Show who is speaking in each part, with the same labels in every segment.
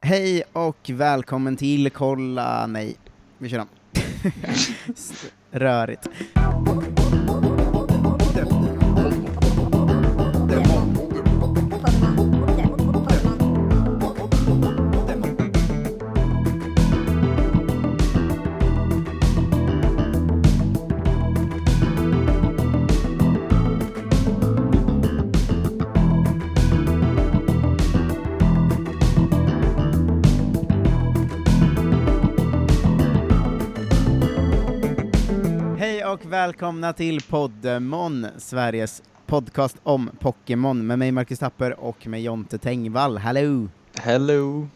Speaker 1: Hej och välkommen till Kolla... Nej, vi kör om. Rörigt. Hej och välkomna till Poddemon, Sveriges podcast om Pokémon med mig Marcus Tapper och med Jonte Tengvall. Hallå!
Speaker 2: Hello!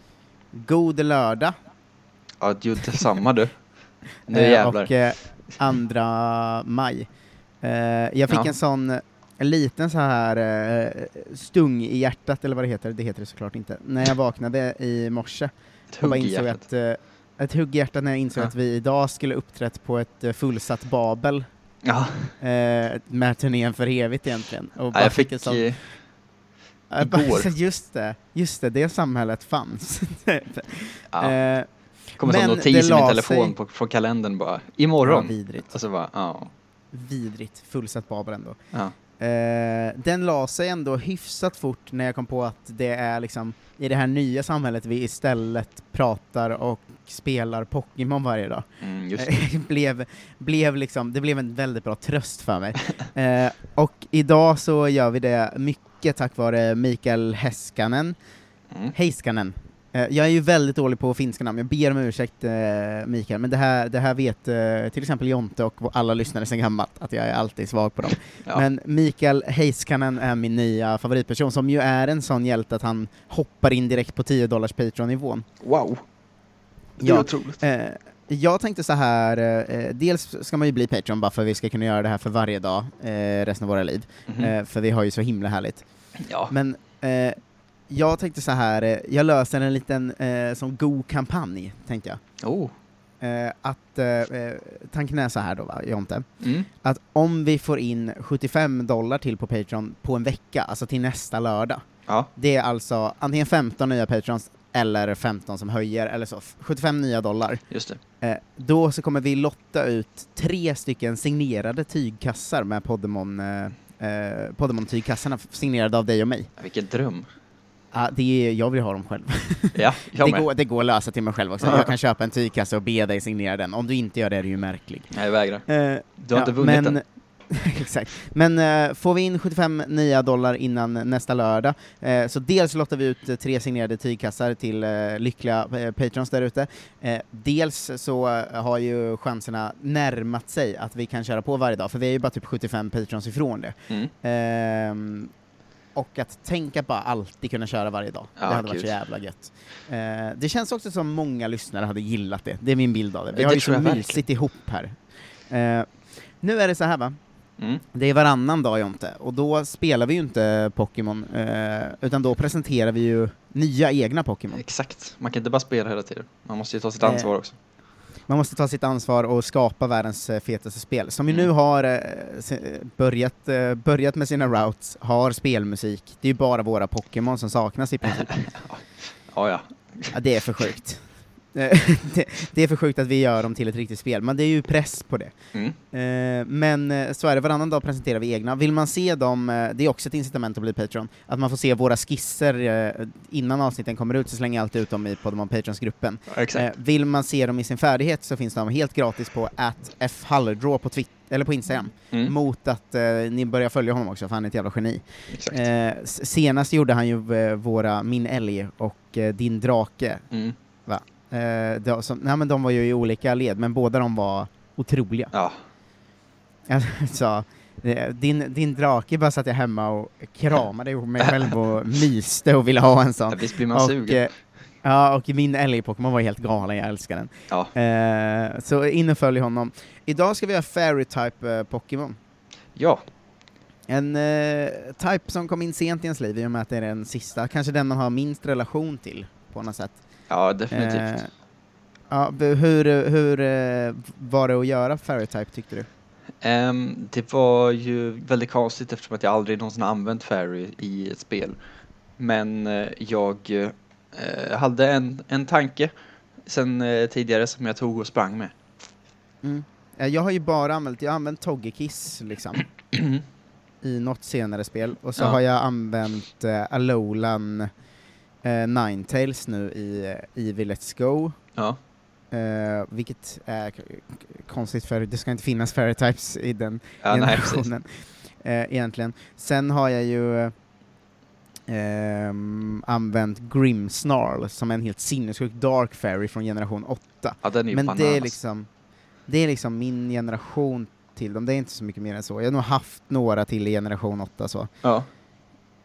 Speaker 1: God lördag!
Speaker 2: Ja, du, detsamma du. Nu
Speaker 1: eh,
Speaker 2: jävlar.
Speaker 1: Och eh, andra maj. Eh, jag fick
Speaker 2: Ja.
Speaker 1: en sån en liten så här eh, stung i hjärtat, eller vad det heter, det heter det såklart inte, när jag vaknade i morse.
Speaker 2: Ett
Speaker 1: Jag bara
Speaker 2: hugg i
Speaker 1: insåg
Speaker 2: hjärtat.
Speaker 1: Att, eh, ett hugg i hjärtat när jag insåg
Speaker 2: Ja.
Speaker 1: att vi idag skulle uppträtt på ett eh, fullsatt Babel
Speaker 2: Ja,
Speaker 1: eh, med turnén för evigt egentligen. Och
Speaker 2: nej, jag fick...
Speaker 1: en sån-
Speaker 2: eh,
Speaker 1: jag bara,
Speaker 2: igår.
Speaker 1: så just det, just det, det samhället fanns.
Speaker 2: ja,
Speaker 1: Eh,
Speaker 2: kom en sån
Speaker 1: men det
Speaker 2: notis i min
Speaker 1: la
Speaker 2: telefon
Speaker 1: sig.
Speaker 2: på, från kalendern bara.
Speaker 1: ja,
Speaker 2: Imorgon.
Speaker 1: vidrigt.
Speaker 2: och så bara, ja.
Speaker 1: Vidrigt, fullsatt Babel ändå.
Speaker 2: ja.
Speaker 1: Eh, den la sig ändå hyfsat fort när jag kom på att det är liksom i det här nya samhället vi istället pratar och spelar Pokémon varje dag.
Speaker 2: Mm, just det.
Speaker 1: Eh, blev, blev liksom, det blev en väldigt bra tröst för mig. Eh, och idag så gör vi det mycket tack vare Mikael Häskanen.
Speaker 2: Mm.
Speaker 1: Heiskanen. Eh, jag är ju väldigt dålig på finska namn, jag ber om ursäkt eh, Mikael, men det här, det här vet eh, till exempel Jonte och alla lyssnare sedan gammalt, att jag är alltid svag på dem.
Speaker 2: Ja.
Speaker 1: Men Mikael Heiskanen är min nya favoritperson, som ju är en sån hjälte att han hoppar in direkt på 10 dollars Patreon-nivån.
Speaker 2: Wow. Det är
Speaker 1: Ja.
Speaker 2: otroligt.
Speaker 1: Eh, jag tänkte så här, eh, dels ska man ju bli Patreon bara för vi ska kunna göra det här för varje dag eh, resten av våra liv,
Speaker 2: Mhm.
Speaker 1: eh, för vi har ju så himla härligt.
Speaker 2: ja.
Speaker 1: Men eh, jag tänkte så här, eh, jag löser en liten eh, som god kampanj, tänkte jag.
Speaker 2: Oh.
Speaker 1: Eh, att, eh, eh, tanken är så här då, va, Jonte,
Speaker 2: Mm.
Speaker 1: att om vi får in 75 dollar till på Patreon på en vecka, alltså till nästa lördag,
Speaker 2: Ja.
Speaker 1: det är alltså antingen 15 nya Patreons eller 15 som höjer, eller så, f- 75 nya dollar.
Speaker 2: Just det.
Speaker 1: Eh, då så kommer vi lotta ut tre stycken signerade tygkassar med Podemon, eh, eh, Podemon-tygkassarna f- signerade av dig och mig.
Speaker 2: Vilken dröm.
Speaker 1: Ja, det är, jag vill ha dem själv.
Speaker 2: Ja, jag
Speaker 1: Det
Speaker 2: med.
Speaker 1: går, det går att lösa till mig själv också. Jag kan köpa en tygkasse och be dig signera den. Om du inte gör det är du ju märklig.
Speaker 2: Nej, jag vägrar. Du har inte
Speaker 1: Ja,
Speaker 2: vunnit den.
Speaker 1: Exakt. Men eh, får vi in 75 nya dollar innan nästa lördag, eh, så dels lottar vi ut eh, tre signerade tygkassar till eh, lyckliga eh, patrons där ute. Eh, dels så eh, har ju chanserna närmat sig att vi kan köra på varje dag, för vi är ju bara typ 75 patrons ifrån det.
Speaker 2: Mm.
Speaker 1: Ehm, och att tänka bara alltid kunna köra varje dag.
Speaker 2: Ja,
Speaker 1: det hade varit
Speaker 2: gud.
Speaker 1: så jävla gött. Eh, det känns också som många lyssnare hade gillat det. Det är min bild av det. Vi
Speaker 2: Det
Speaker 1: har ju så
Speaker 2: tror jag verkligen.
Speaker 1: mysigt ihop här. Eh, nu är det så här va,
Speaker 2: Mm.
Speaker 1: det är varannan dag Jonte, och då spelar vi ju inte Pokémon, eh, utan då presenterar vi ju nya egna Pokémon.
Speaker 2: Exakt. Man kan inte bara spela hela tiden. Man måste ju ta sitt
Speaker 1: Eh,
Speaker 2: ansvar också.
Speaker 1: Man måste ta sitt ansvar och skapa världens eh, fetaste spel, som ju
Speaker 2: Mm.
Speaker 1: nu har eh, se- börjat, eh, börjat med sina routes, har spelmusik. Det är ju bara våra Pokémon som saknas i princip.
Speaker 2: Ja, ja.
Speaker 1: Ja, det är för sjukt. Eh, det, det är för sjukt att vi gör dem till ett riktigt spel, men det är ju press på det.
Speaker 2: Mm.
Speaker 1: Eh, Men eh, så är det, varannan dag presenterar vi egna. Vill man se dem, eh, det är också ett incitament att bli Patreon, att man får se våra skisser eh, innan avsnitten kommer ut så slänger jag alltid ut dem i Podemon Patrons-gruppen.
Speaker 2: Ja, Exakt.
Speaker 1: Eh, Vill man se dem i sin färdighet så finns de helt gratis på @fhallerdraw på, Twitter, eller på Instagram,
Speaker 2: Mm.
Speaker 1: mot att eh, ni börjar följa honom också, för han är ett jävla geni.
Speaker 2: Exakt.
Speaker 1: Eh, s- senast gjorde han ju eh, våra Min älg och eh, Din drake,
Speaker 2: Mm.
Speaker 1: Eh, de, som, nej, men de var ju i olika led, men båda de var otroliga.
Speaker 2: Ja.
Speaker 1: Alltså, eh, din, din drake bara satt jag hemma och kramade ihop mig själv och myste och ville ha en sån.
Speaker 2: Ja, Visst blir man
Speaker 1: Och,
Speaker 2: sugen?
Speaker 1: eh, ja, och min älg-Pokémon var helt galen, jag älskar den.
Speaker 2: Ja.
Speaker 1: Eh, så in och följ honom. Idag ska vi ha Fairy-type eh, Pokémon.
Speaker 2: Ja.
Speaker 1: En eh, type som kom in sent i ens liv i och med att det är den sista, kanske den man har minst relation till på något sätt.
Speaker 2: Ja, definitivt.
Speaker 1: Eh, ja, b- hur hur eh, var det att göra Fairytype tyckte du?
Speaker 2: Ehm, det var ju väldigt konstigt eftersom att jag aldrig någonsin har använt Fairy i ett spel. Men eh, jag eh, eh, hade en, en tanke sen eh, tidigare som jag tog och sprang med.
Speaker 1: Mm. Eh, Jag har ju bara använt, jag har använt Togekiss liksom. I något senare spel. Och så
Speaker 2: Ja.
Speaker 1: har jag använt eh, Alolan eh, Ninetales nu i eh, Evil Let's Go.
Speaker 2: Ja,
Speaker 1: Eh, vilket är k- k- konstigt för det ska inte finnas Fairytypes i den
Speaker 2: ja nej precis.
Speaker 1: generationen. Eh, egentligen. Sen har jag ju eh, ehm, använt Grimmsnarl som är en helt sinnessjuk Dark Fairy från generation 8.
Speaker 2: Ja, den är ju
Speaker 1: Men
Speaker 2: bananas.
Speaker 1: det är, liksom, det är liksom min generation till dem, det är inte så mycket mer än så. Jag har nog haft några till i generation 8 så.
Speaker 2: Ja,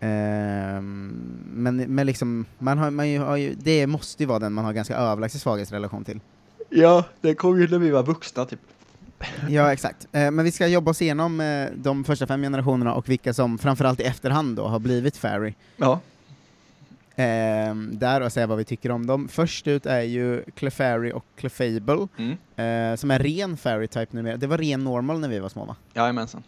Speaker 1: Ehm, men men liksom, man har, man ju, har ju, det måste ju vara den man har ganska överlägset svagast relation till.
Speaker 2: ja den kom ju när vi var vuxna typ.
Speaker 1: Ja, exakt. Eh, men vi ska jobba oss igenom eh, de första fem generationerna och vilka som framförallt i efterhand då har blivit fairy.
Speaker 2: Ja,
Speaker 1: Ehm, där och säga vad vi tycker om dem. Först ut är ju Clefairy och Clefable,
Speaker 2: mm.
Speaker 1: eh, som är ren fairy-type numera. Det var ren normal när vi var små va?
Speaker 2: jajamensan.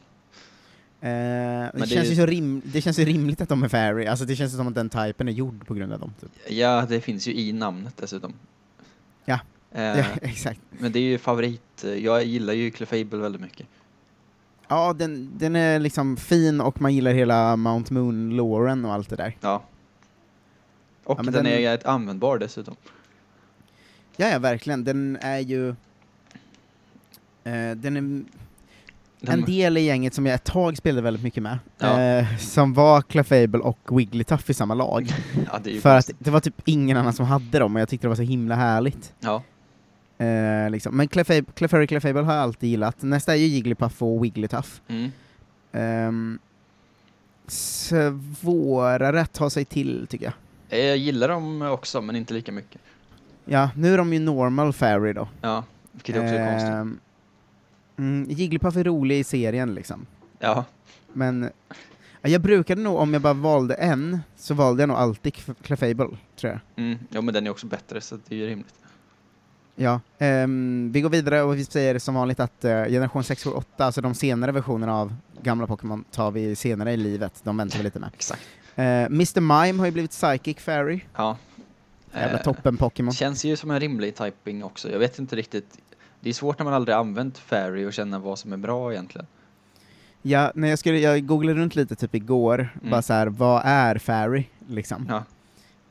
Speaker 1: Eh, det,
Speaker 2: det är
Speaker 1: känns ju
Speaker 2: ju-
Speaker 1: så rim- det känns ju rimligt att de är fairy, alltså det känns ju som att den typen är gjord på grund av dem. Typ.
Speaker 2: Ja, det finns ju i namnet dessutom.
Speaker 1: Ja.
Speaker 2: Eh,
Speaker 1: Ja, exakt.
Speaker 2: Men det är ju favorit. Jag gillar ju Clefable väldigt mycket.
Speaker 1: Ja, den, den är liksom fin och man gillar hela Mount Moon-loren och allt det där.
Speaker 2: Ja. Och
Speaker 1: Ja, men
Speaker 2: den,
Speaker 1: den-
Speaker 2: är ett användbar dessutom.
Speaker 1: Ja, ja, verkligen. Den är ju... eh, den är
Speaker 2: Den,
Speaker 1: en del i gänget som jag ett tag spelade väldigt mycket med,
Speaker 2: Ja.
Speaker 1: eh, som var Clefable och Wigglytuff i samma lag.
Speaker 2: ja, det är ju
Speaker 1: För att
Speaker 2: konstigt.
Speaker 1: det var typ ingen annan som hade dem och jag tyckte det var så himla härligt.
Speaker 2: Ja,
Speaker 1: Eh, liksom. Men Clefab- Clefairy Clefable har jag alltid gillat. Nästa är ju Jigglypuff och Wigglytuff.
Speaker 2: mm.
Speaker 1: Um, svårare att ta sig till, tycker jag.
Speaker 2: Eh, Jag gillar dem också, men inte lika mycket.
Speaker 1: Ja, nu är de ju normal fairy då.
Speaker 2: Ja, vilket också är konstigt.
Speaker 1: Ehm, mm, Jigglypuff är rolig i serien liksom.
Speaker 2: Ja,
Speaker 1: Men ja, jag brukade nog, om jag bara valde en, så valde jag nog alltid Clef- Clefable, tror jag.
Speaker 2: mm. ja, men den är också bättre, så det är ju rimligt.
Speaker 1: Ja, ehm, vi går vidare och vi säger som vanligt att eh, generation 6 och 8, alltså de senare versionerna av gamla Pokémon, tar vi senare i livet. De väntar vi lite med.
Speaker 2: Exakt.
Speaker 1: Eh, Mr Mime har ju blivit Psychic Fairy.
Speaker 2: Ja.
Speaker 1: Jävla
Speaker 2: Eh,
Speaker 1: toppen-Pokémon.
Speaker 2: Känns ju som en rimlig typing också. Jag vet inte riktigt. Det är svårt när man aldrig använt Fairy och känna vad som är bra egentligen.
Speaker 1: Ja, när jag, skulle, jag googlade runt lite typ igår,
Speaker 2: Mm.
Speaker 1: bara så här, vad är Fairy? Liksom.
Speaker 2: Ja.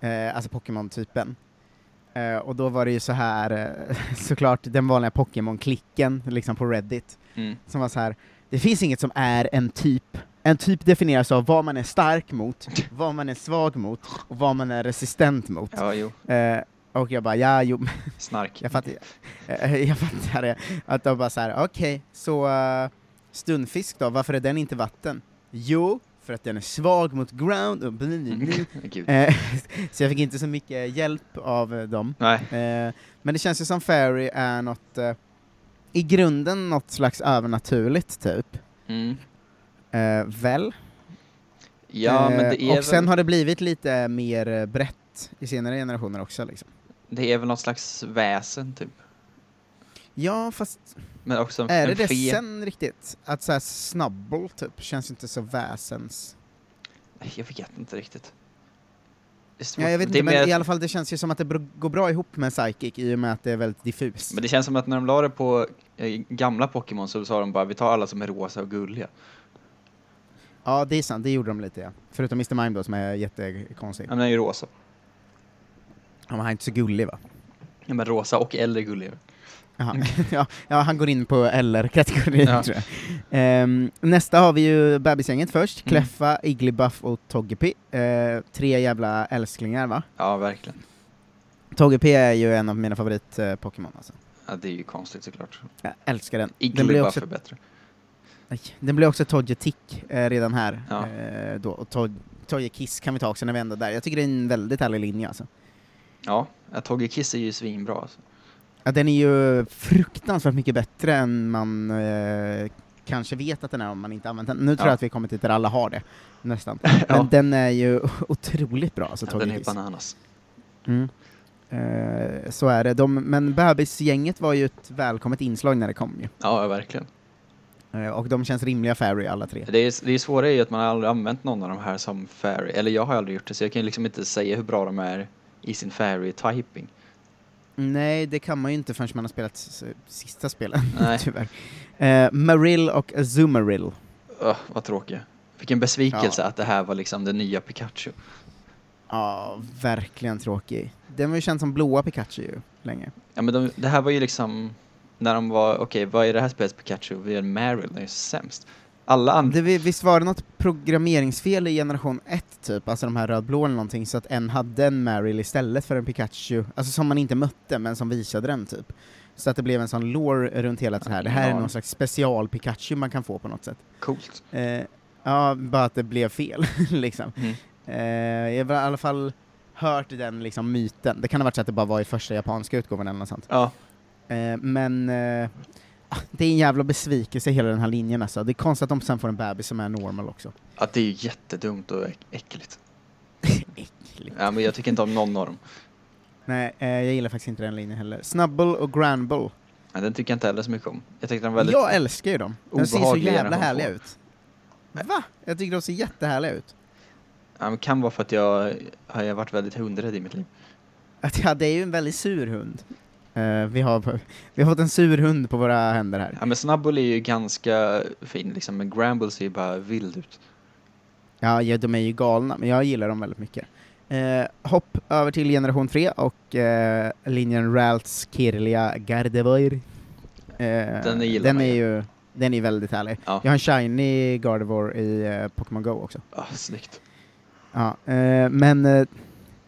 Speaker 1: Eh, alltså Pokémon-typen. Eh, och då var det ju så här, eh, såklart den vanliga Pokémon-klicken liksom på Reddit,
Speaker 2: Mm.
Speaker 1: som var så här, det finns inget som är en typ. En typ definieras av vad man är stark mot, vad man är svag mot och vad man är resistent mot.
Speaker 2: Ja, jo.
Speaker 1: Eh, och jag bara, ja, jo,
Speaker 2: Snark.
Speaker 1: Jag fattar, eh, jag fattar det. Att de bara så här, okej, så eh, stunfisk då, varför är den inte vatten? Jo, för att den är svag mot ground och bli-
Speaker 2: Mm. Gud.
Speaker 1: Eh, Så jag fick inte så mycket hjälp av eh, dem.
Speaker 2: Nej.
Speaker 1: Eh, Men det känns ju som fairy är något, eh, i grunden något slags övernaturligt typ.
Speaker 2: Mm.
Speaker 1: Eh, Väl?
Speaker 2: Ja, men
Speaker 1: Eh,
Speaker 2: det är
Speaker 1: Och sen
Speaker 2: väl-
Speaker 1: har det blivit lite mer eh, brett i senare generationer också liksom.
Speaker 2: Det är väl något slags väsen typ.
Speaker 1: Ja, fast
Speaker 2: Men också en,
Speaker 1: Är det
Speaker 2: en
Speaker 1: det
Speaker 2: fe.
Speaker 1: sen riktigt? Att såhär snubble typ, känns inte så väsens...
Speaker 2: Nej, Jag vet inte riktigt. Det är svårt.
Speaker 1: Ja, jag vet inte,
Speaker 2: det är
Speaker 1: men
Speaker 2: mer-
Speaker 1: i alla fall det känns ju som att det br- går bra ihop med psychic i och med att det är väldigt diffust.
Speaker 2: men det känns som att när de la det på eh, gamla Pokémon så sa de bara vi tar alla som är rosa och gulliga.
Speaker 1: Ja, det är sant, det gjorde de lite ja. Förutom Mr Mime då som är jättekonstig.
Speaker 2: Han är ju rosa.
Speaker 1: Ja, men han är inte så gullig va?
Speaker 2: Ja, men rosa och eller gulliga.
Speaker 1: Jaha. ja, ja, han går in på LR-kategorin
Speaker 2: Mm. Ja.
Speaker 1: tror jag. Ehm, nästa har vi ju bebisgänget först,
Speaker 2: Mm.
Speaker 1: Kleffa, Igglybuff och Togepi. Eh, tre jävla älsklingar va?
Speaker 2: Ja, verkligen.
Speaker 1: Togepi är ju en av mina favorit-Pokémon alltså.
Speaker 2: Ja, det är ju konstigt såklart.
Speaker 1: Jag älskar den. Den blir
Speaker 2: Igglybuff
Speaker 1: också
Speaker 2: är bättre.
Speaker 1: Nej, den blir också Togetic eh, redan här.
Speaker 2: Ja.
Speaker 1: Eh, då. Och Tog- Togekiss kan vi ta också när vi ändå är där. Jag tycker det är en väldigt härlig linje alltså.
Speaker 2: Ja, ja, Togekiss är ju svinbra. Alltså.
Speaker 1: Ja, den är ju fruktansvärt mycket bättre än man eh, kanske vet att den är om man inte använt den. Nu tror
Speaker 2: Ja.
Speaker 1: jag att vi kommit dit där alla har det, nästan. Men
Speaker 2: Ja,
Speaker 1: den är ju otroligt bra alltså,
Speaker 2: ja, den är ju
Speaker 1: Togekiss.
Speaker 2: bananas.
Speaker 1: Mm. Eh, så är det. De, men bebisgänget var ju ett välkommet inslag när det kom ju.
Speaker 2: Ja, verkligen.
Speaker 1: Eh, och de känns rimliga Fairy alla tre.
Speaker 2: Det, är, det är svåra är ju att man aldrig använt någon av de här som fairy. Eller jag har aldrig gjort det, så jag kan ju liksom inte säga hur bra de är i sin fairy typing.
Speaker 1: Nej, det kan man ju inte förrän man har spelat s- sista spelen,
Speaker 2: Nej.
Speaker 1: tyvärr. Eh, Marill och Azumarill.
Speaker 2: Öh, vad tråkigt. Vilken besvikelse att det här var liksom det nya Pikachu.
Speaker 1: Ja, verkligen tråkig. Den var ju känd som blåa Pikachu ju, länge.
Speaker 2: Ja, men de, det här var ju liksom när de var, okej, vad är det här spelets Pikachu? Vi är Meryl, den är ju sämst. Alla andra,
Speaker 1: Det, vi- visst var det något programmeringsfel i generation 1 typ, alltså de här rödblå eller någonting, så att en hade en Marill istället för en Pikachu, alltså som man inte mötte men som visade den typ. Så att det blev en sån lore runt hela det här, det här är
Speaker 2: Ja.
Speaker 1: någon slags special Pikachu man kan få på något sätt.
Speaker 2: coolt.
Speaker 1: Eh, ja, bara att det blev fel liksom.
Speaker 2: Mm.
Speaker 1: Eh, jag har i alla fall hört den liksom myten, det kan ha varit så att det bara var i första japanska utgåvan eller något sånt.
Speaker 2: Ja,
Speaker 1: Eh, men eh, ah, det är en jävla besvikelse hela den här linjen alltså. Det är konstigt att de sen får en bebis som är normal också.
Speaker 2: ja, det är ju jättedumt och äck- äckligt.
Speaker 1: Äckligt.
Speaker 2: Ja, men jag tycker inte om någon av dem.
Speaker 1: Nej, eh, jag gillar faktiskt inte den linjen heller. Snubble och Granbull.
Speaker 2: Ja, den tycker jag inte heller så mycket om. Jag tyckte den var väldigt...
Speaker 1: Jag älskar ju dem. De ser så
Speaker 2: Obehagliga
Speaker 1: jävla
Speaker 2: de får.
Speaker 1: härliga ut. Va? Jag tycker de ser jättehärliga ut.
Speaker 2: Ja, men kan vara för att jag har jag varit väldigt hundrädd i mitt liv.
Speaker 1: Att, ja, det är ju en väldigt sur hund. Eh, vi, har, vi har fått en sur hund på våra händer här.
Speaker 2: Ja, men Snubbull är ju ganska fin liksom, men Gramble ser ju bara vild ut.
Speaker 1: Ja, ja, de är ju galna, men jag gillar dem väldigt mycket. Eh, hopp över till generation 3 och eh, linjen Ralts Kirlia Gardevoir. Eh,
Speaker 2: Den gillar
Speaker 1: den
Speaker 2: man
Speaker 1: är
Speaker 2: ju.
Speaker 1: ju. Den är väldigt härlig.
Speaker 2: Ja.
Speaker 1: Jag har en shiny Gardevoir i eh, Pokémon Go också.
Speaker 2: Ah, snyggt.
Speaker 1: Ja, eh, men eh,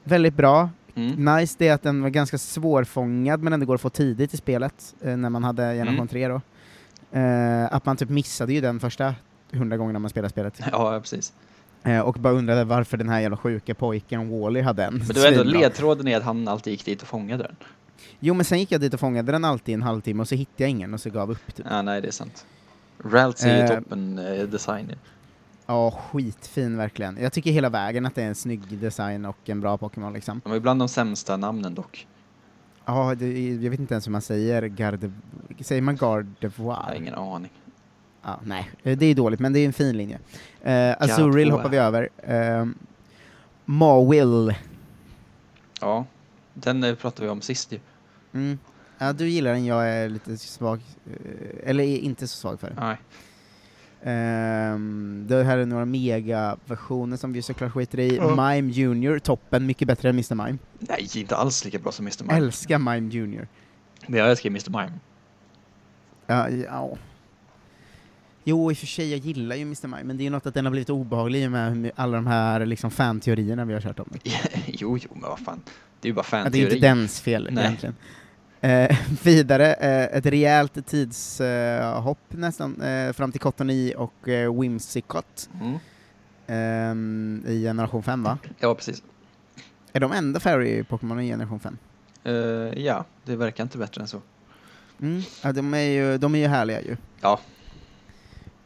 Speaker 1: väldigt bra.
Speaker 2: Mm.
Speaker 1: Nice det är att den var ganska svårfångad men ändå går att få tidigt i spelet eh, när man hade generation
Speaker 2: Mm.
Speaker 1: 3 då. Eh, att man typ missade ju den första hundra gångerna man spelade spelet.
Speaker 2: Ja, precis.
Speaker 1: Eh, och bara undrade varför den här jävla sjuka pojken Wally hade en.
Speaker 2: Men det var ändå
Speaker 1: Svinbra.
Speaker 2: ledtråden är att han alltid gick dit och fångade den.
Speaker 1: Jo men sen gick jag dit och fångade den alltid i en halvtimme och så hittade jag ingen och så gav jag upp typ.
Speaker 2: Ja, nej, det är sant. Ralts är ju
Speaker 1: Eh.
Speaker 2: toppen eh, designer.
Speaker 1: Ja, skitfin verkligen. Jag tycker hela vägen att det är en snygg design och en bra Pokémon liksom.
Speaker 2: De är bland de sämsta namnen dock.
Speaker 1: Ja, det- jag vet inte ens hur man säger Garde... Säger man Gardevoir?
Speaker 2: Jag har ingen aning.
Speaker 1: Ja, nej, eh, det är dåligt, men det är en fin linje. Uh, Azuril
Speaker 2: Gardevoir.
Speaker 1: hoppar vi över. Uh, Mawill.
Speaker 2: Ja, den eh, pratade vi om sist ju.
Speaker 1: Mm. Ja, du gillar den, jag är lite svag, eh, eller är inte så svag för den.
Speaker 2: Nej.
Speaker 1: Ehm, det här är några mega-versioner som vi såklart skiter i.
Speaker 2: Ja.
Speaker 1: Mime Junior, toppen, mycket bättre än Mr. Mime.
Speaker 2: nej, inte alls lika bra som Mr. Mime.
Speaker 1: Älskar Mime Junior.
Speaker 2: Men jag älskar Mr. Mime.
Speaker 1: Ja, ja. Jo, i och för sig, jag gillar ju Mr. Mime, men det är ju något att den har blivit obehaglig i och med hur my- alla de här liksom, fan-teorierna vi har kört om. den.
Speaker 2: jo, jo, men vad fan. Det är ju bara
Speaker 1: Ja, det är ju
Speaker 2: fanteori.
Speaker 1: inte dens fel
Speaker 2: Nej.
Speaker 1: egentligen. Eh, vidare, eh, ett rejält tidshopp nästan, eh, fram till Cottony och eh, Whimsicott
Speaker 2: mm.
Speaker 1: ehm, i generation 5 va?
Speaker 2: Ja, precis.
Speaker 1: Är de enda Fairy-Pokémon i generation 5?
Speaker 2: Eh, ja, det verkar inte bättre än så.
Speaker 1: Mm. Ja, de, är ju, de är ju härliga ju.
Speaker 2: Ja.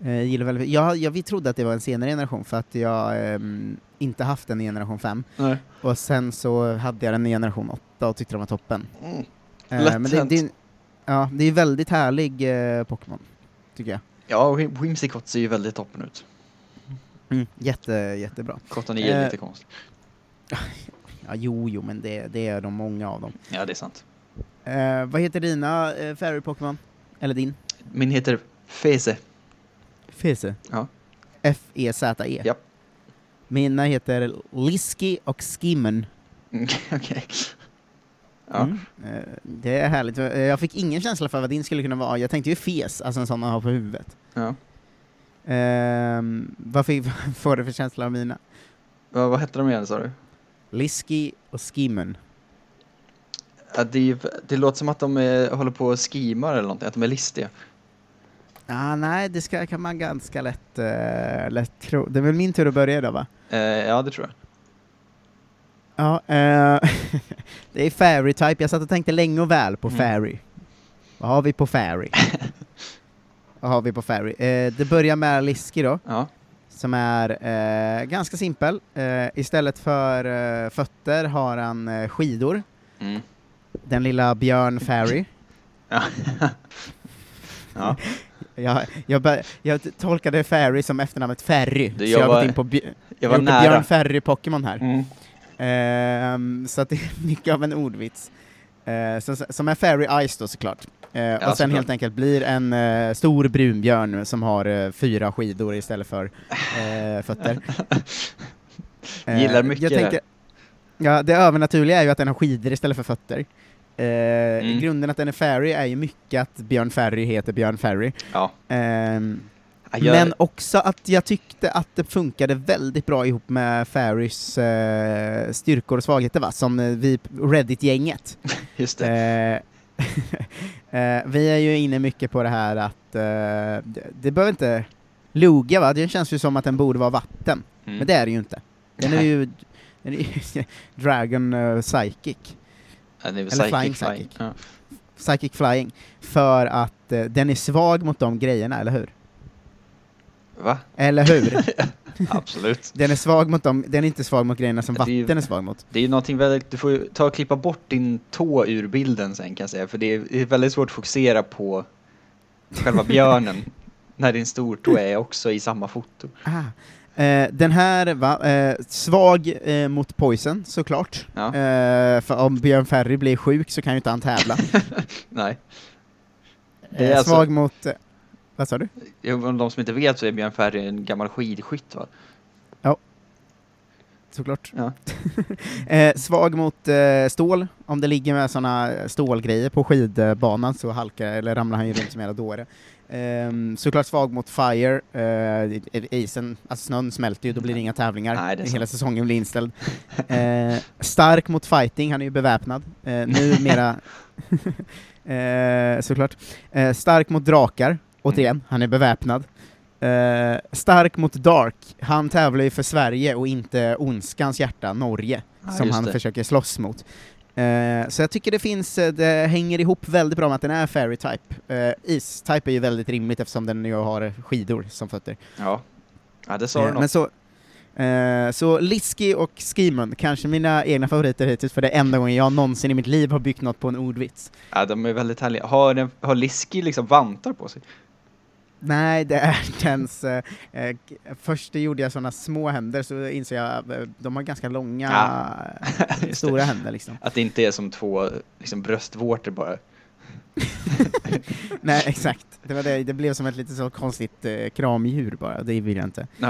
Speaker 1: Eh, jag gillar väldigt, jag, jag, vi trodde att det var en senare generation för att jag ehm, inte haft den i generation 5.
Speaker 2: Nej.
Speaker 1: Och sen så hade jag den i generation 8 och tyckte den var toppen.
Speaker 2: Mm.
Speaker 1: Eh,
Speaker 2: Lätt
Speaker 1: det,
Speaker 2: hänt.
Speaker 1: det, är- ja, det är väldigt härlig eh, Pokémon, tycker jag.
Speaker 2: Ja, och Whim- Whimsicott ser ju väldigt toppen ut.
Speaker 1: Mm. Jätte, jättebra.
Speaker 2: Cotton är
Speaker 1: Eh.
Speaker 2: lite konstig.
Speaker 1: Ja, jo, jo, men det, det är de många av dem.
Speaker 2: Ja, det är sant.
Speaker 1: Eh, vad heter dina eh, Fairy-Pokémon? Eller din?
Speaker 2: Min heter Feze.
Speaker 1: Feze.
Speaker 2: Ja.
Speaker 1: F-E-Z-E.
Speaker 2: Ja.
Speaker 1: E Mina heter Liski och Skimmen.
Speaker 2: Mm, Okej. Ja.
Speaker 1: Mm. Eh, Det är härligt. Eh, Jag fick ingen känsla för vad din skulle kunna vara. Jag tänkte ju fes, alltså en sån man har på huvudet.
Speaker 2: ja.
Speaker 1: Ehm, vad fick, vad får du för känsla av mina?
Speaker 2: Vad, vad hette de igen sa du?
Speaker 1: Liski och Skimmen.
Speaker 2: Ja, det, är ju- det låter som att de är, håller på och skimar eller någonting, att de är listiga.
Speaker 1: Ah, nej, det ska, kan man ganska lätt, eh, lätt tro. Det är väl min tur att börja då, va?
Speaker 2: Eh, ja, det tror jag.
Speaker 1: Ja, eh, det är fairy type. Jag satt och tänkte länge och väl på
Speaker 2: Mm.
Speaker 1: fairy. Vad har vi på fairy? Vad har vi på fairy? Eh, det börjar med Liski då.
Speaker 2: Ja.
Speaker 1: som är eh, ganska simpel. Eh, istället för eh, fötter har han eh, skidor.
Speaker 2: Mm.
Speaker 1: Den lilla Björn Ferry.
Speaker 2: Ja. ja.
Speaker 1: Jag, jag, bör- jag t- tolkade Ferry som efternamnet Ferry,
Speaker 2: Du,
Speaker 1: så jag
Speaker 2: jag
Speaker 1: har gått
Speaker 2: var-
Speaker 1: in på, bj-
Speaker 2: Jag var
Speaker 1: gjort Björn
Speaker 2: nära.
Speaker 1: Ferry Pokémon här.
Speaker 2: Mm.
Speaker 1: Ehm, så att det är mycket av en ordvits. Eh, så, som är Fairy Ice då såklart. Eh, och sen
Speaker 2: såklart.
Speaker 1: helt enkelt blir en eh, stor brunbjörn som har eh, fyra skidor istället för eh, fötter. Eh,
Speaker 2: Gillar mycket
Speaker 1: jag
Speaker 2: det.
Speaker 1: tänker, Ja, det övernaturliga är ju att den har skidor istället för fötter. Eh,
Speaker 2: Mm.
Speaker 1: Grunden att den är Ferry är ju mycket att Björn Ferry heter Björn Ferry.
Speaker 2: Ja.
Speaker 1: Ehm,
Speaker 2: Jag gör-
Speaker 1: Men också att jag tyckte att det funkade väldigt bra ihop med Ferrys eh, styrkor och svagheter, va? som eh, vi Reddit-gänget.
Speaker 2: just det.
Speaker 1: Eh, eh, vi är ju inne mycket på det här att eh, det, det behöver inte loga va, det känns ju som att den borde vara vatten,
Speaker 2: Mm.
Speaker 1: men det är det ju inte. Den är ju den är ju Dragon eh, Psychic,
Speaker 2: Ja, det är väl
Speaker 1: eller
Speaker 2: psychic,
Speaker 1: flying
Speaker 2: flying.
Speaker 1: psychic.
Speaker 2: Ja.
Speaker 1: Psychic Flying, för att eh, den är svag mot de grejerna, eller hur?
Speaker 2: Va?
Speaker 1: Eller hur?
Speaker 2: Absolut.
Speaker 1: Den är svag mot dem, den är inte svag mot grejerna som
Speaker 2: Det är ju-
Speaker 1: vatten är svag mot.
Speaker 2: Det är ju någonting väldigt, du får ju ta och klippa bort din tå ur bilden sen kan jag säga, för det är det är väldigt svårt att fokusera på själva björnen när din stortå är också i samma foto.
Speaker 1: Ah. Eh, den här, va, eh, svag eh, mot poison såklart.
Speaker 2: Ja.
Speaker 1: Eh, för om Björn Ferry blir sjuk så kan ju inte han tävla.
Speaker 2: Nej. Det är
Speaker 1: eh,
Speaker 2: alltså-
Speaker 1: svag mot... Eh, vad sa du?
Speaker 2: Jo, men De som inte vet så är Björn Ferry en gammal skidskytt va?
Speaker 1: Såklart.
Speaker 2: Ja.
Speaker 1: eh, svag mot eh, stål. Om det ligger med sådana stålgrejer på skidbanan så halkar eller ramlar han ju runt som en jävla dåre. Ehm, såklart svag mot fire. Eh, isen, alltså snön smälter ju, då blir det inga tävlingar.
Speaker 2: Nej, det är
Speaker 1: Hela säsongen blir inställd. Eh, stark mot fighting, han är ju beväpnad. Eh, numera... eh, såklart. Eh, stark mot drakar,
Speaker 2: Mm.
Speaker 1: återigen, han är beväpnad. Eh, stark mot Dark, han tävlar ju för Sverige och inte ondskans hjärta, Norge,
Speaker 2: Ja,
Speaker 1: som
Speaker 2: just
Speaker 1: han
Speaker 2: det.
Speaker 1: försöker slåss mot. Eh, så jag tycker det finns, eh, det hänger ihop väldigt bra med att den är fairy type. Eh, Is-type är ju väldigt rimligt eftersom den ju har skidor som fötter.
Speaker 2: Ja. Ja, det sa du
Speaker 1: Eh,
Speaker 2: något.
Speaker 1: Men så, eh, så Liski och Skimon, kanske mina egna favoriter hittills, för det är enda gången jag någonsin i mitt liv har byggt något på en ordvits.
Speaker 2: Ja, de är väldigt härliga. Har, den, har Liski liksom vantar på sig?
Speaker 1: Nej, det är dens... Eh, eh, k- först gjorde jag sådana små händer, så insåg jag eh, de har ganska långa,
Speaker 2: Just det.
Speaker 1: stora händer liksom.
Speaker 2: Att det inte är som två liksom, bröstvårtor bara.
Speaker 1: Nej, exakt. Det, var det. det blev som ett lite så konstigt eh, kramdjur bara, det vill jag inte.
Speaker 2: Ja.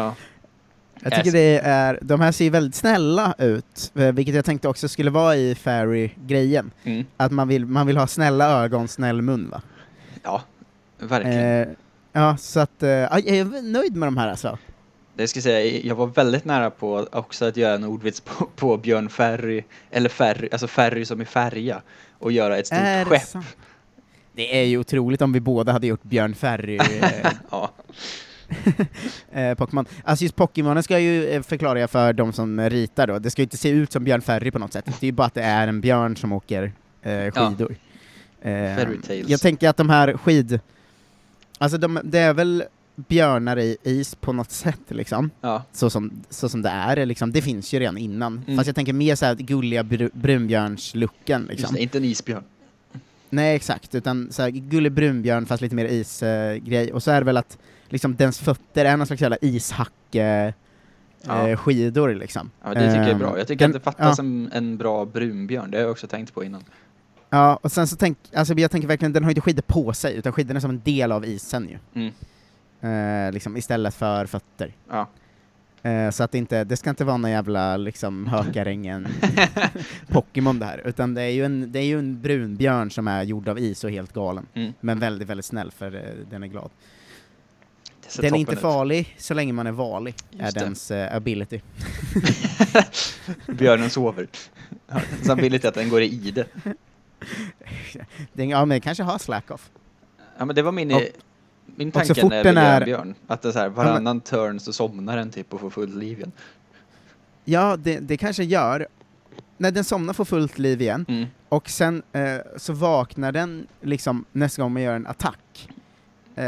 Speaker 1: Jag
Speaker 2: Yes.
Speaker 1: tycker det är, de här ser ju väldigt snälla ut, eh, vilket jag tänkte också skulle vara i Fairy-grejen.
Speaker 2: Mm.
Speaker 1: Att man vill, man vill ha snälla ögon, snäll mun va?
Speaker 2: ja, verkligen.
Speaker 1: Eh, ja, så att, eh, ja, jag är nöjd med de här alltså.
Speaker 2: Det ska jag säga, jag var väldigt nära på också att göra en ordvits på, på Björn Ferry, eller Ferry, alltså Ferry som i färja, och göra ett stort
Speaker 1: Är det
Speaker 2: skepp.
Speaker 1: sant? Det är ju otroligt om vi båda hade gjort Björn Ferry eh,
Speaker 2: Ja,
Speaker 1: eh, Pokémon. Alltså just Pokémonen ska jag ju eh, förklara jag för de som ritar då, det ska ju inte se ut som Björn Ferry på något sätt, det är ju bara att det är en björn som åker eh, skidor. Eh,
Speaker 2: Fairy tales.
Speaker 1: jag tänker att de här skid... Alltså de, det är väl björnar i is på något sätt liksom,
Speaker 2: ja,
Speaker 1: så som, så som det är liksom. Det finns ju redan innan,
Speaker 2: Mm.
Speaker 1: fast jag tänker mer såhär gulliga br- brunbjörns-looken
Speaker 2: just
Speaker 1: liksom.
Speaker 2: det, inte en isbjörn.
Speaker 1: Nej, exakt. Utan så här, gullig brunbjörn fast lite mer isgrej. grej och så är det väl att liksom, dens fötter är någon slags jävla ishacke
Speaker 2: Ja.
Speaker 1: eh, skidor liksom.
Speaker 2: Ja, det tycker jag är
Speaker 1: Ehm,
Speaker 2: bra. Jag tycker
Speaker 1: den-
Speaker 2: att det fattas en, en bra brunbjörn, det har jag också tänkt på innan.
Speaker 1: Ja, och sen så tänk, alltså jag tänker verkligen, den har ju inte skidor på sig, utan skidorna är som en del av isen ju.
Speaker 2: Mm.
Speaker 1: Eh, liksom, istället för fötter.
Speaker 2: Ja.
Speaker 1: Eh, så att det inte, det ska inte vara någon jävla liksom hökarängen Pokémon det här, utan det är ju en, det är ju en brunbjörn som är gjord av is och helt galen.
Speaker 2: Mm.
Speaker 1: Men väldigt, väldigt snäll för eh, den är glad.
Speaker 2: Det ser
Speaker 1: Den är
Speaker 2: toppen
Speaker 1: inte
Speaker 2: ut.
Speaker 1: farlig så länge man är varlig,
Speaker 2: Just
Speaker 1: är
Speaker 2: det.
Speaker 1: dens eh, ability.
Speaker 2: Björnen sover. Ja, Samtidigt att den går i ide.
Speaker 1: Den, ja, men den kanske har slack-off.
Speaker 2: Ja, men det var min,
Speaker 1: Och-
Speaker 2: min
Speaker 1: och så
Speaker 2: tanke
Speaker 1: fort
Speaker 2: när
Speaker 1: den
Speaker 2: vi
Speaker 1: är-
Speaker 2: är... björn. Att det är så här, varannan turn så somnar den typ och får full liv igen.
Speaker 1: Ja, det, det kanske gör. När den somnar får fullt liv igen,
Speaker 2: Mm.
Speaker 1: och sen eh, så vaknar den liksom nästa gång man gör en attack. Eh,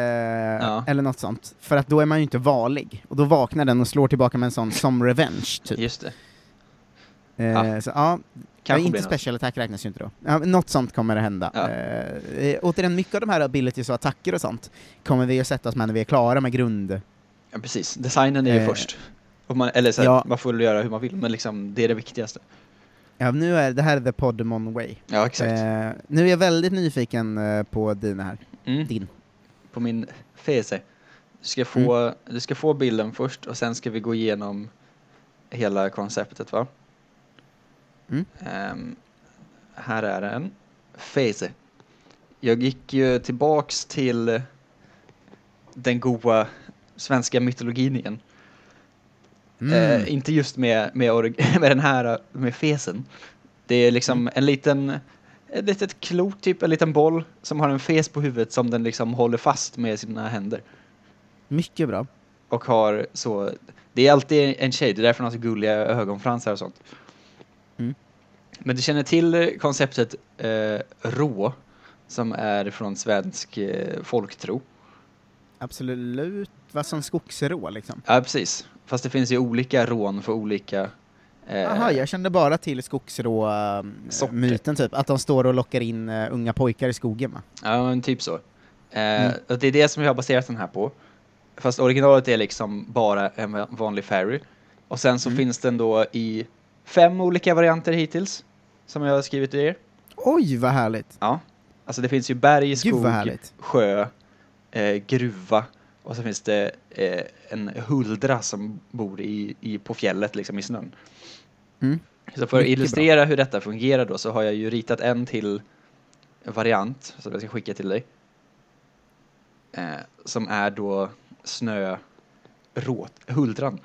Speaker 1: Eller något sånt. För att då är man ju inte varlig. Och då vaknar den och slår tillbaka med en sån som revenge, typ.
Speaker 2: Just det.
Speaker 1: Eh,
Speaker 2: Ja.
Speaker 1: Så ja, Ja,
Speaker 2: Kanske
Speaker 1: inte
Speaker 2: blir något.
Speaker 1: special attack räknas ju inte då. Ja, men något sånt kommer att hända.
Speaker 2: Ja.
Speaker 1: Eh, återigen, mycket av de här abilities och attacker och sånt kommer vi att sätta oss med när vi är klara med grund...
Speaker 2: Ja, precis. Designen är ju
Speaker 1: Eh,
Speaker 2: först. Och man, eller så här,
Speaker 1: Ja.
Speaker 2: man får väl göra hur man vill, men liksom, det är det viktigaste.
Speaker 1: Ja, nu är det här är the Podemon way.
Speaker 2: Ja, exakt.
Speaker 1: Eh, nu är jag väldigt nyfiken eh, på din här.
Speaker 2: Mm.
Speaker 1: Din.
Speaker 2: På min fese. E. Du ska, få,
Speaker 1: Mm.
Speaker 2: du ska få bilden först och sen ska vi gå igenom hela konceptet va?
Speaker 1: Mm.
Speaker 2: Ehm, här är den. Fese. E. Jag gick ju tillbaks till den goa svenska mytologin igen.
Speaker 1: Mm.
Speaker 2: Eh, inte just med, med, org- med den här, eh, med fesen. Det är liksom
Speaker 1: Mm.
Speaker 2: en liten, ett litet klot typ, en liten boll som har en fes på huvudet som den liksom håller fast med sina händer.
Speaker 1: Mycket bra.
Speaker 2: Och har så, det är alltid en tjej, det är därför hon har så gulliga ögonfransar och sånt.
Speaker 1: Mm.
Speaker 2: Men du känner till eh, konceptet eh, rå, som är från svensk eh, folktro.
Speaker 1: Absolut. Vad som skogsrå liksom.
Speaker 2: Ja, precis. Fast det finns ju olika rån för olika... eh,
Speaker 1: Jaha, jag kände bara till skogsrå-myten typ, att de står och lockar in eh, unga pojkar i skogen va?
Speaker 2: Ja, men typ så. Eh,
Speaker 1: Mm.
Speaker 2: och Det är det som jag har baserat den här på. Fast originalet är liksom bara en va- vanlig fairy. Och sen så
Speaker 1: Mm.
Speaker 2: finns den då i fem olika varianter hittills. Som jag har skrivit till er.
Speaker 1: Oj, vad härligt!
Speaker 2: Ja. Alltså det finns ju berg,
Speaker 1: Gud vad
Speaker 2: skog,
Speaker 1: härligt!
Speaker 2: sjö, eh, gruva. Och så finns det eh, en huldra som bor i, i, på fjället, liksom i snön.
Speaker 1: Mm.
Speaker 2: Så för att
Speaker 1: Mycket
Speaker 2: illustrera hur detta fungerar då så har jag ju ritat en till variant som jag ska skicka till dig. Eh, som är då snö råt, huldran.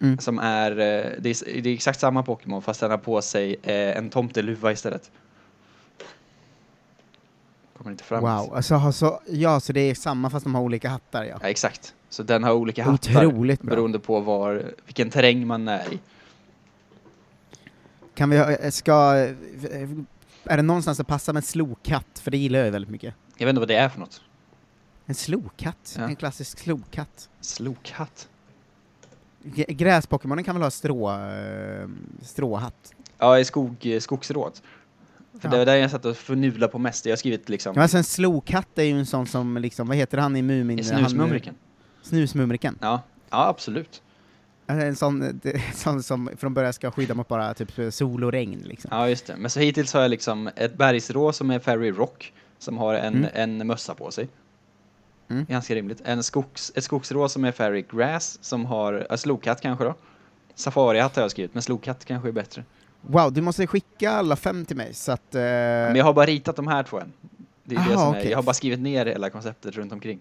Speaker 1: Mm.
Speaker 2: Som är, eh, det är, s- det är exakt samma Pokémon fast den har på sig eh, en tomteluva istället. Kommer inte fram.
Speaker 1: Wow, alltså, ha så, ja, så det är samma fast de har olika hattar ja.
Speaker 2: Ja, exakt. Så den har olika hattar
Speaker 1: Otroligt bra!
Speaker 2: beroende på var, vilken terräng man är i.
Speaker 1: Kan vi, ha- eh, ska, eh, är det någonstans som passar med en slokatt? För det gillar jag ju väldigt mycket.
Speaker 2: Jag vet inte vad det är för något.
Speaker 1: En slokatt?
Speaker 2: Ja.
Speaker 1: En klassisk slokatt.
Speaker 2: Slokhatt.
Speaker 1: Gr- Gräspokémonen kan väl ha strå, eh, stråhatt?
Speaker 2: Ja, i skog, eh, skogsråd. För
Speaker 1: Ja.
Speaker 2: det var där jag satt och förnulade på mest. Jag har skrivit liksom
Speaker 1: Ja, alltså en slokatt är ju en sån som liksom, vad heter han i Mumin?
Speaker 2: i
Speaker 1: Han-
Speaker 2: snusmumriken.
Speaker 1: Snusmumriken.
Speaker 2: Ja. ja, absolut.
Speaker 1: Alltså en sån, eh, det- sån som från början ska skydda mot bara typ sol och regn liksom.
Speaker 2: Ja, just det. Men så hittills har jag liksom ett bergsrå som är Fairy Rock, som har en, en mössa på sig.
Speaker 1: Mm.
Speaker 2: Ganska rimligt. En skogs, ett skogsrå som är Fairy Grass, som har, äh, slokhatt kanske då. Safarihatt har jag skrivit, men slokhatt kanske är bättre.
Speaker 1: Eh. Wow, du måste skicka alla fem till mig så att... eh,
Speaker 2: Men jag har bara ritat de här två än. Det är det
Speaker 1: Aha,
Speaker 2: som är,
Speaker 1: okej.
Speaker 2: jag har bara skrivit ner hela konceptet runt omkring.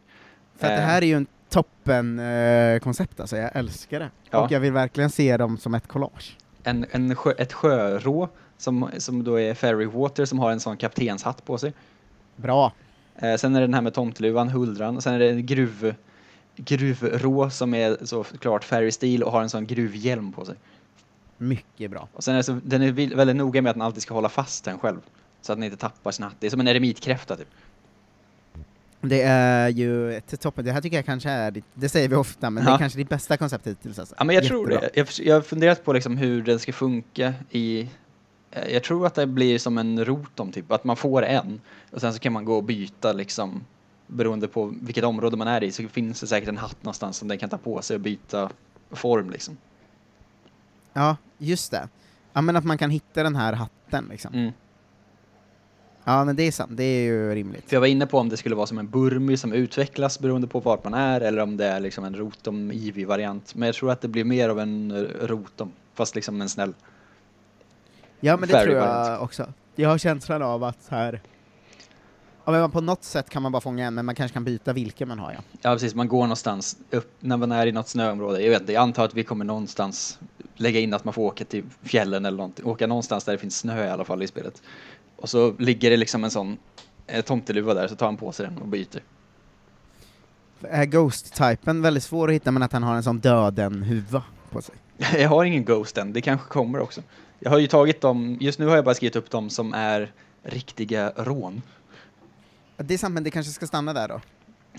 Speaker 1: För att det
Speaker 2: Eh.
Speaker 1: här är ju en toppen eh, koncept alltså, jag älskar det.
Speaker 2: Ja.
Speaker 1: Och jag vill verkligen se dem som ett collage.
Speaker 2: en, en sjö, ett sjörå som, som då är Fairy Water som har en sån kaptenshatt på sig.
Speaker 1: Bra.
Speaker 2: Eh, sen är det den här med tomteluvan, huldran, och sen är det en gruv, gruvrå som är såklart Fairy Steel och har en sån gruvhjälm på sig.
Speaker 1: Mycket bra.
Speaker 2: Och sen är det så, den är vil- väldigt noga med att den alltid ska hålla fast den själv. Så att den inte tappar sin hatt. Det är som en eremitkräfta typ.
Speaker 1: Det är ju ett toppen, det här tycker jag kanske är ditt, det säger vi ofta, men det
Speaker 2: Ja.
Speaker 1: är kanske ditt bästa koncept hittills alltså.
Speaker 2: Ja men jag tror
Speaker 1: Jättebra.
Speaker 2: det. Jag, förs- jag har funderat på liksom hur den ska funka i... eh, Jag tror att det blir som en rotom typ, att man får en och sen så kan man gå och byta liksom beroende på vilket område man är i så finns det säkert en hatt någonstans som den kan ta på sig och byta form liksom.
Speaker 1: Ja, just det. Ja men att man kan hitta den här hatten liksom.
Speaker 2: Mm.
Speaker 1: Ja men det är sant, det är ju rimligt.
Speaker 2: För jag var inne på om det skulle vara som en burmy som utvecklas beroende på vart man är eller om det är liksom en rotom ivy variant Men jag tror att det blir mer av en eh, rotom, fast liksom en snäll.
Speaker 1: Ja men det
Speaker 2: Very
Speaker 1: tror jag
Speaker 2: variant.
Speaker 1: också. Jag har känslan av att så här, ja, men man på något sätt kan man bara fånga en, men man kanske kan byta vilken man har ja.
Speaker 2: Ja precis, man går någonstans upp när man är i något snöområde. Jag vet inte, jag antar att vi kommer någonstans lägga in att man får åka till fjällen eller någonting. Åka någonstans där det finns snö i alla fall i spelet. Och så ligger det liksom en sån eh, tomteluva där, så tar han på sig den och byter.
Speaker 1: Är Ghost-typen väldigt svår att hitta, men att han har en sån döden-huva på sig?
Speaker 2: Jag har ingen Ghost än, det kanske kommer också. Jag har ju tagit dem, just nu har jag bara skrivit upp dem som är riktiga rån.
Speaker 1: Det är sant, men det kanske ska stanna där då.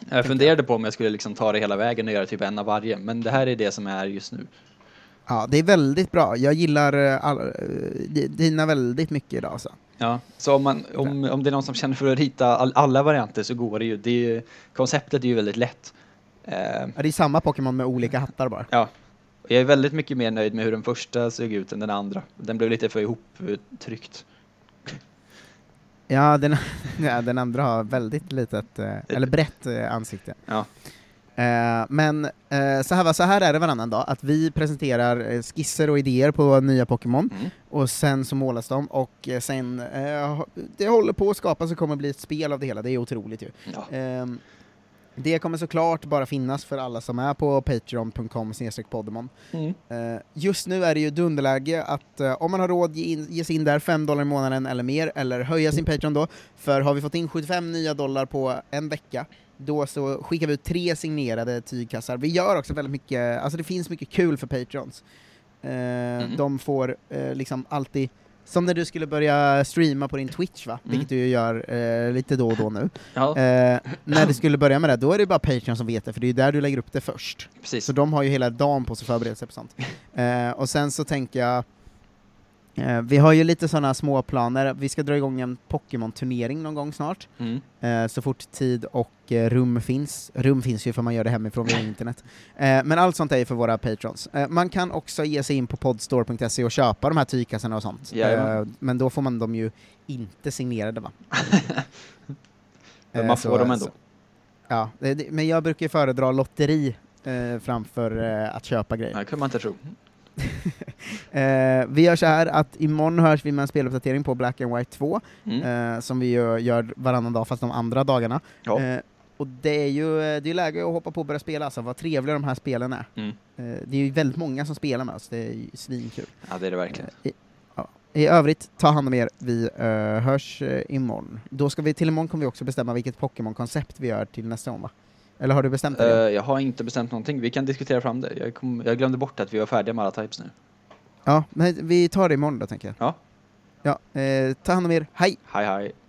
Speaker 2: Jag funderade på om jag skulle liksom ta det hela vägen och göra typ en av varje, men det här är det som är just nu.
Speaker 1: Ja, det är väldigt bra. Jag gillar eh, all, eh, di- dina väldigt mycket idag alltså.
Speaker 2: Ja, så om, man, om, om det är någon som känner för att rita all, alla varianter så går det ju. Det är ju konceptet är ju väldigt lätt. Eh,
Speaker 1: Ja, det är samma Pokémon med olika hattar bara.
Speaker 2: ja, Och jag är väldigt mycket mer nöjd med hur den första såg ut än den andra. Den blev lite för ihoptryckt.
Speaker 1: Ja, den, ja, den andra har väldigt litet, eh, eller brett eh, ansikte.
Speaker 2: Ja.
Speaker 1: Eh, Men eh, så här, va- så här är det varannan dag, att vi presenterar eh, skisser och idéer på nya Pokémon,
Speaker 2: Mm.
Speaker 1: och sen så målas de, och eh, sen, eh, ha- det håller på att skapas och kommer bli ett spel av det hela, det är otroligt ju.
Speaker 2: Ja.
Speaker 1: Ehm, Det kommer såklart bara finnas för alla som är på patreon.com snedstreck podemon.
Speaker 2: Mm.
Speaker 1: Eh, Just nu är det ju dunderläge att eh, om man har råd ge, in, ge sig in där 5 dollar i månaden eller mer, eller höja sin Patreon då, för har vi fått in 75 nya dollar på en vecka, då så skickar vi ut tre signerade tygkassar. Vi gör också väldigt mycket, alltså det finns mycket kul för Patreons. Eh, De får eh, liksom alltid, som när du skulle börja streama på din Twitch va, vilket du ju gör eh, lite då och då nu.
Speaker 2: ja,
Speaker 1: Eh, när det skulle börja med det, då är det bara Patreon som vet det, för det är ju där du lägger upp det först.
Speaker 2: precis.
Speaker 1: Så de har ju hela dagen på sig att förbereda sig på sånt. Eh, och sen så tänker jag, eh, vi har ju lite sådana små planer. Vi ska dra igång en Pokémon-turnering någon gång snart,
Speaker 2: Mm.
Speaker 1: eh, så fort tid och eh, rum finns. Rum finns ju för man gör det hemifrån via internet. Eh, men allt sånt är ju för våra patrons. Eh, man kan också ge sig in på podstore.se och köpa de här tygkassarna och sånt. Eh,
Speaker 2: Jajamän.
Speaker 1: men då får man dem ju inte signerade va?
Speaker 2: Men
Speaker 1: Eh,
Speaker 2: man
Speaker 1: så-
Speaker 2: får dem ändå.
Speaker 1: så- Ja, det, det, men jag brukar ju föredra lotteri eh, framför eh, att köpa grejer.
Speaker 2: Det kunde man inte tro.
Speaker 1: Eh, vi gör så här att imorgon hörs vi med en speluppdatering på Black and White 2,
Speaker 2: Mm.
Speaker 1: eh, som vi ju gör varannan dag, fast de andra dagarna.
Speaker 2: Ja.
Speaker 1: Eh, och det är ju eh, det är läge att hoppa på och börja spela, alltså vad trevliga de här spelen är.
Speaker 2: Mm.
Speaker 1: Eh, det är ju väldigt många som spelar med oss, det är ju svinkul. Eh,
Speaker 2: Ja, det är det verkligen.
Speaker 1: I övrigt, ta hand om er, vi eh, hörs eh, imorgon. Då ska vi, till imorgon kommer vi också bestämma vilket Pokémon-koncept vi gör till nästa gång va? Eller har du bestämt
Speaker 2: Eh,
Speaker 1: det?
Speaker 2: jag har inte bestämt någonting. Vi kan diskutera fram det. Jag, kom, jag glömde bort att vi var färdiga med alla types nu.
Speaker 1: Ja, nej, vi tar det imorgon då tänker jag.
Speaker 2: Ja.
Speaker 1: Ja, eh, ta hand om er, hej!
Speaker 2: Hej, hej.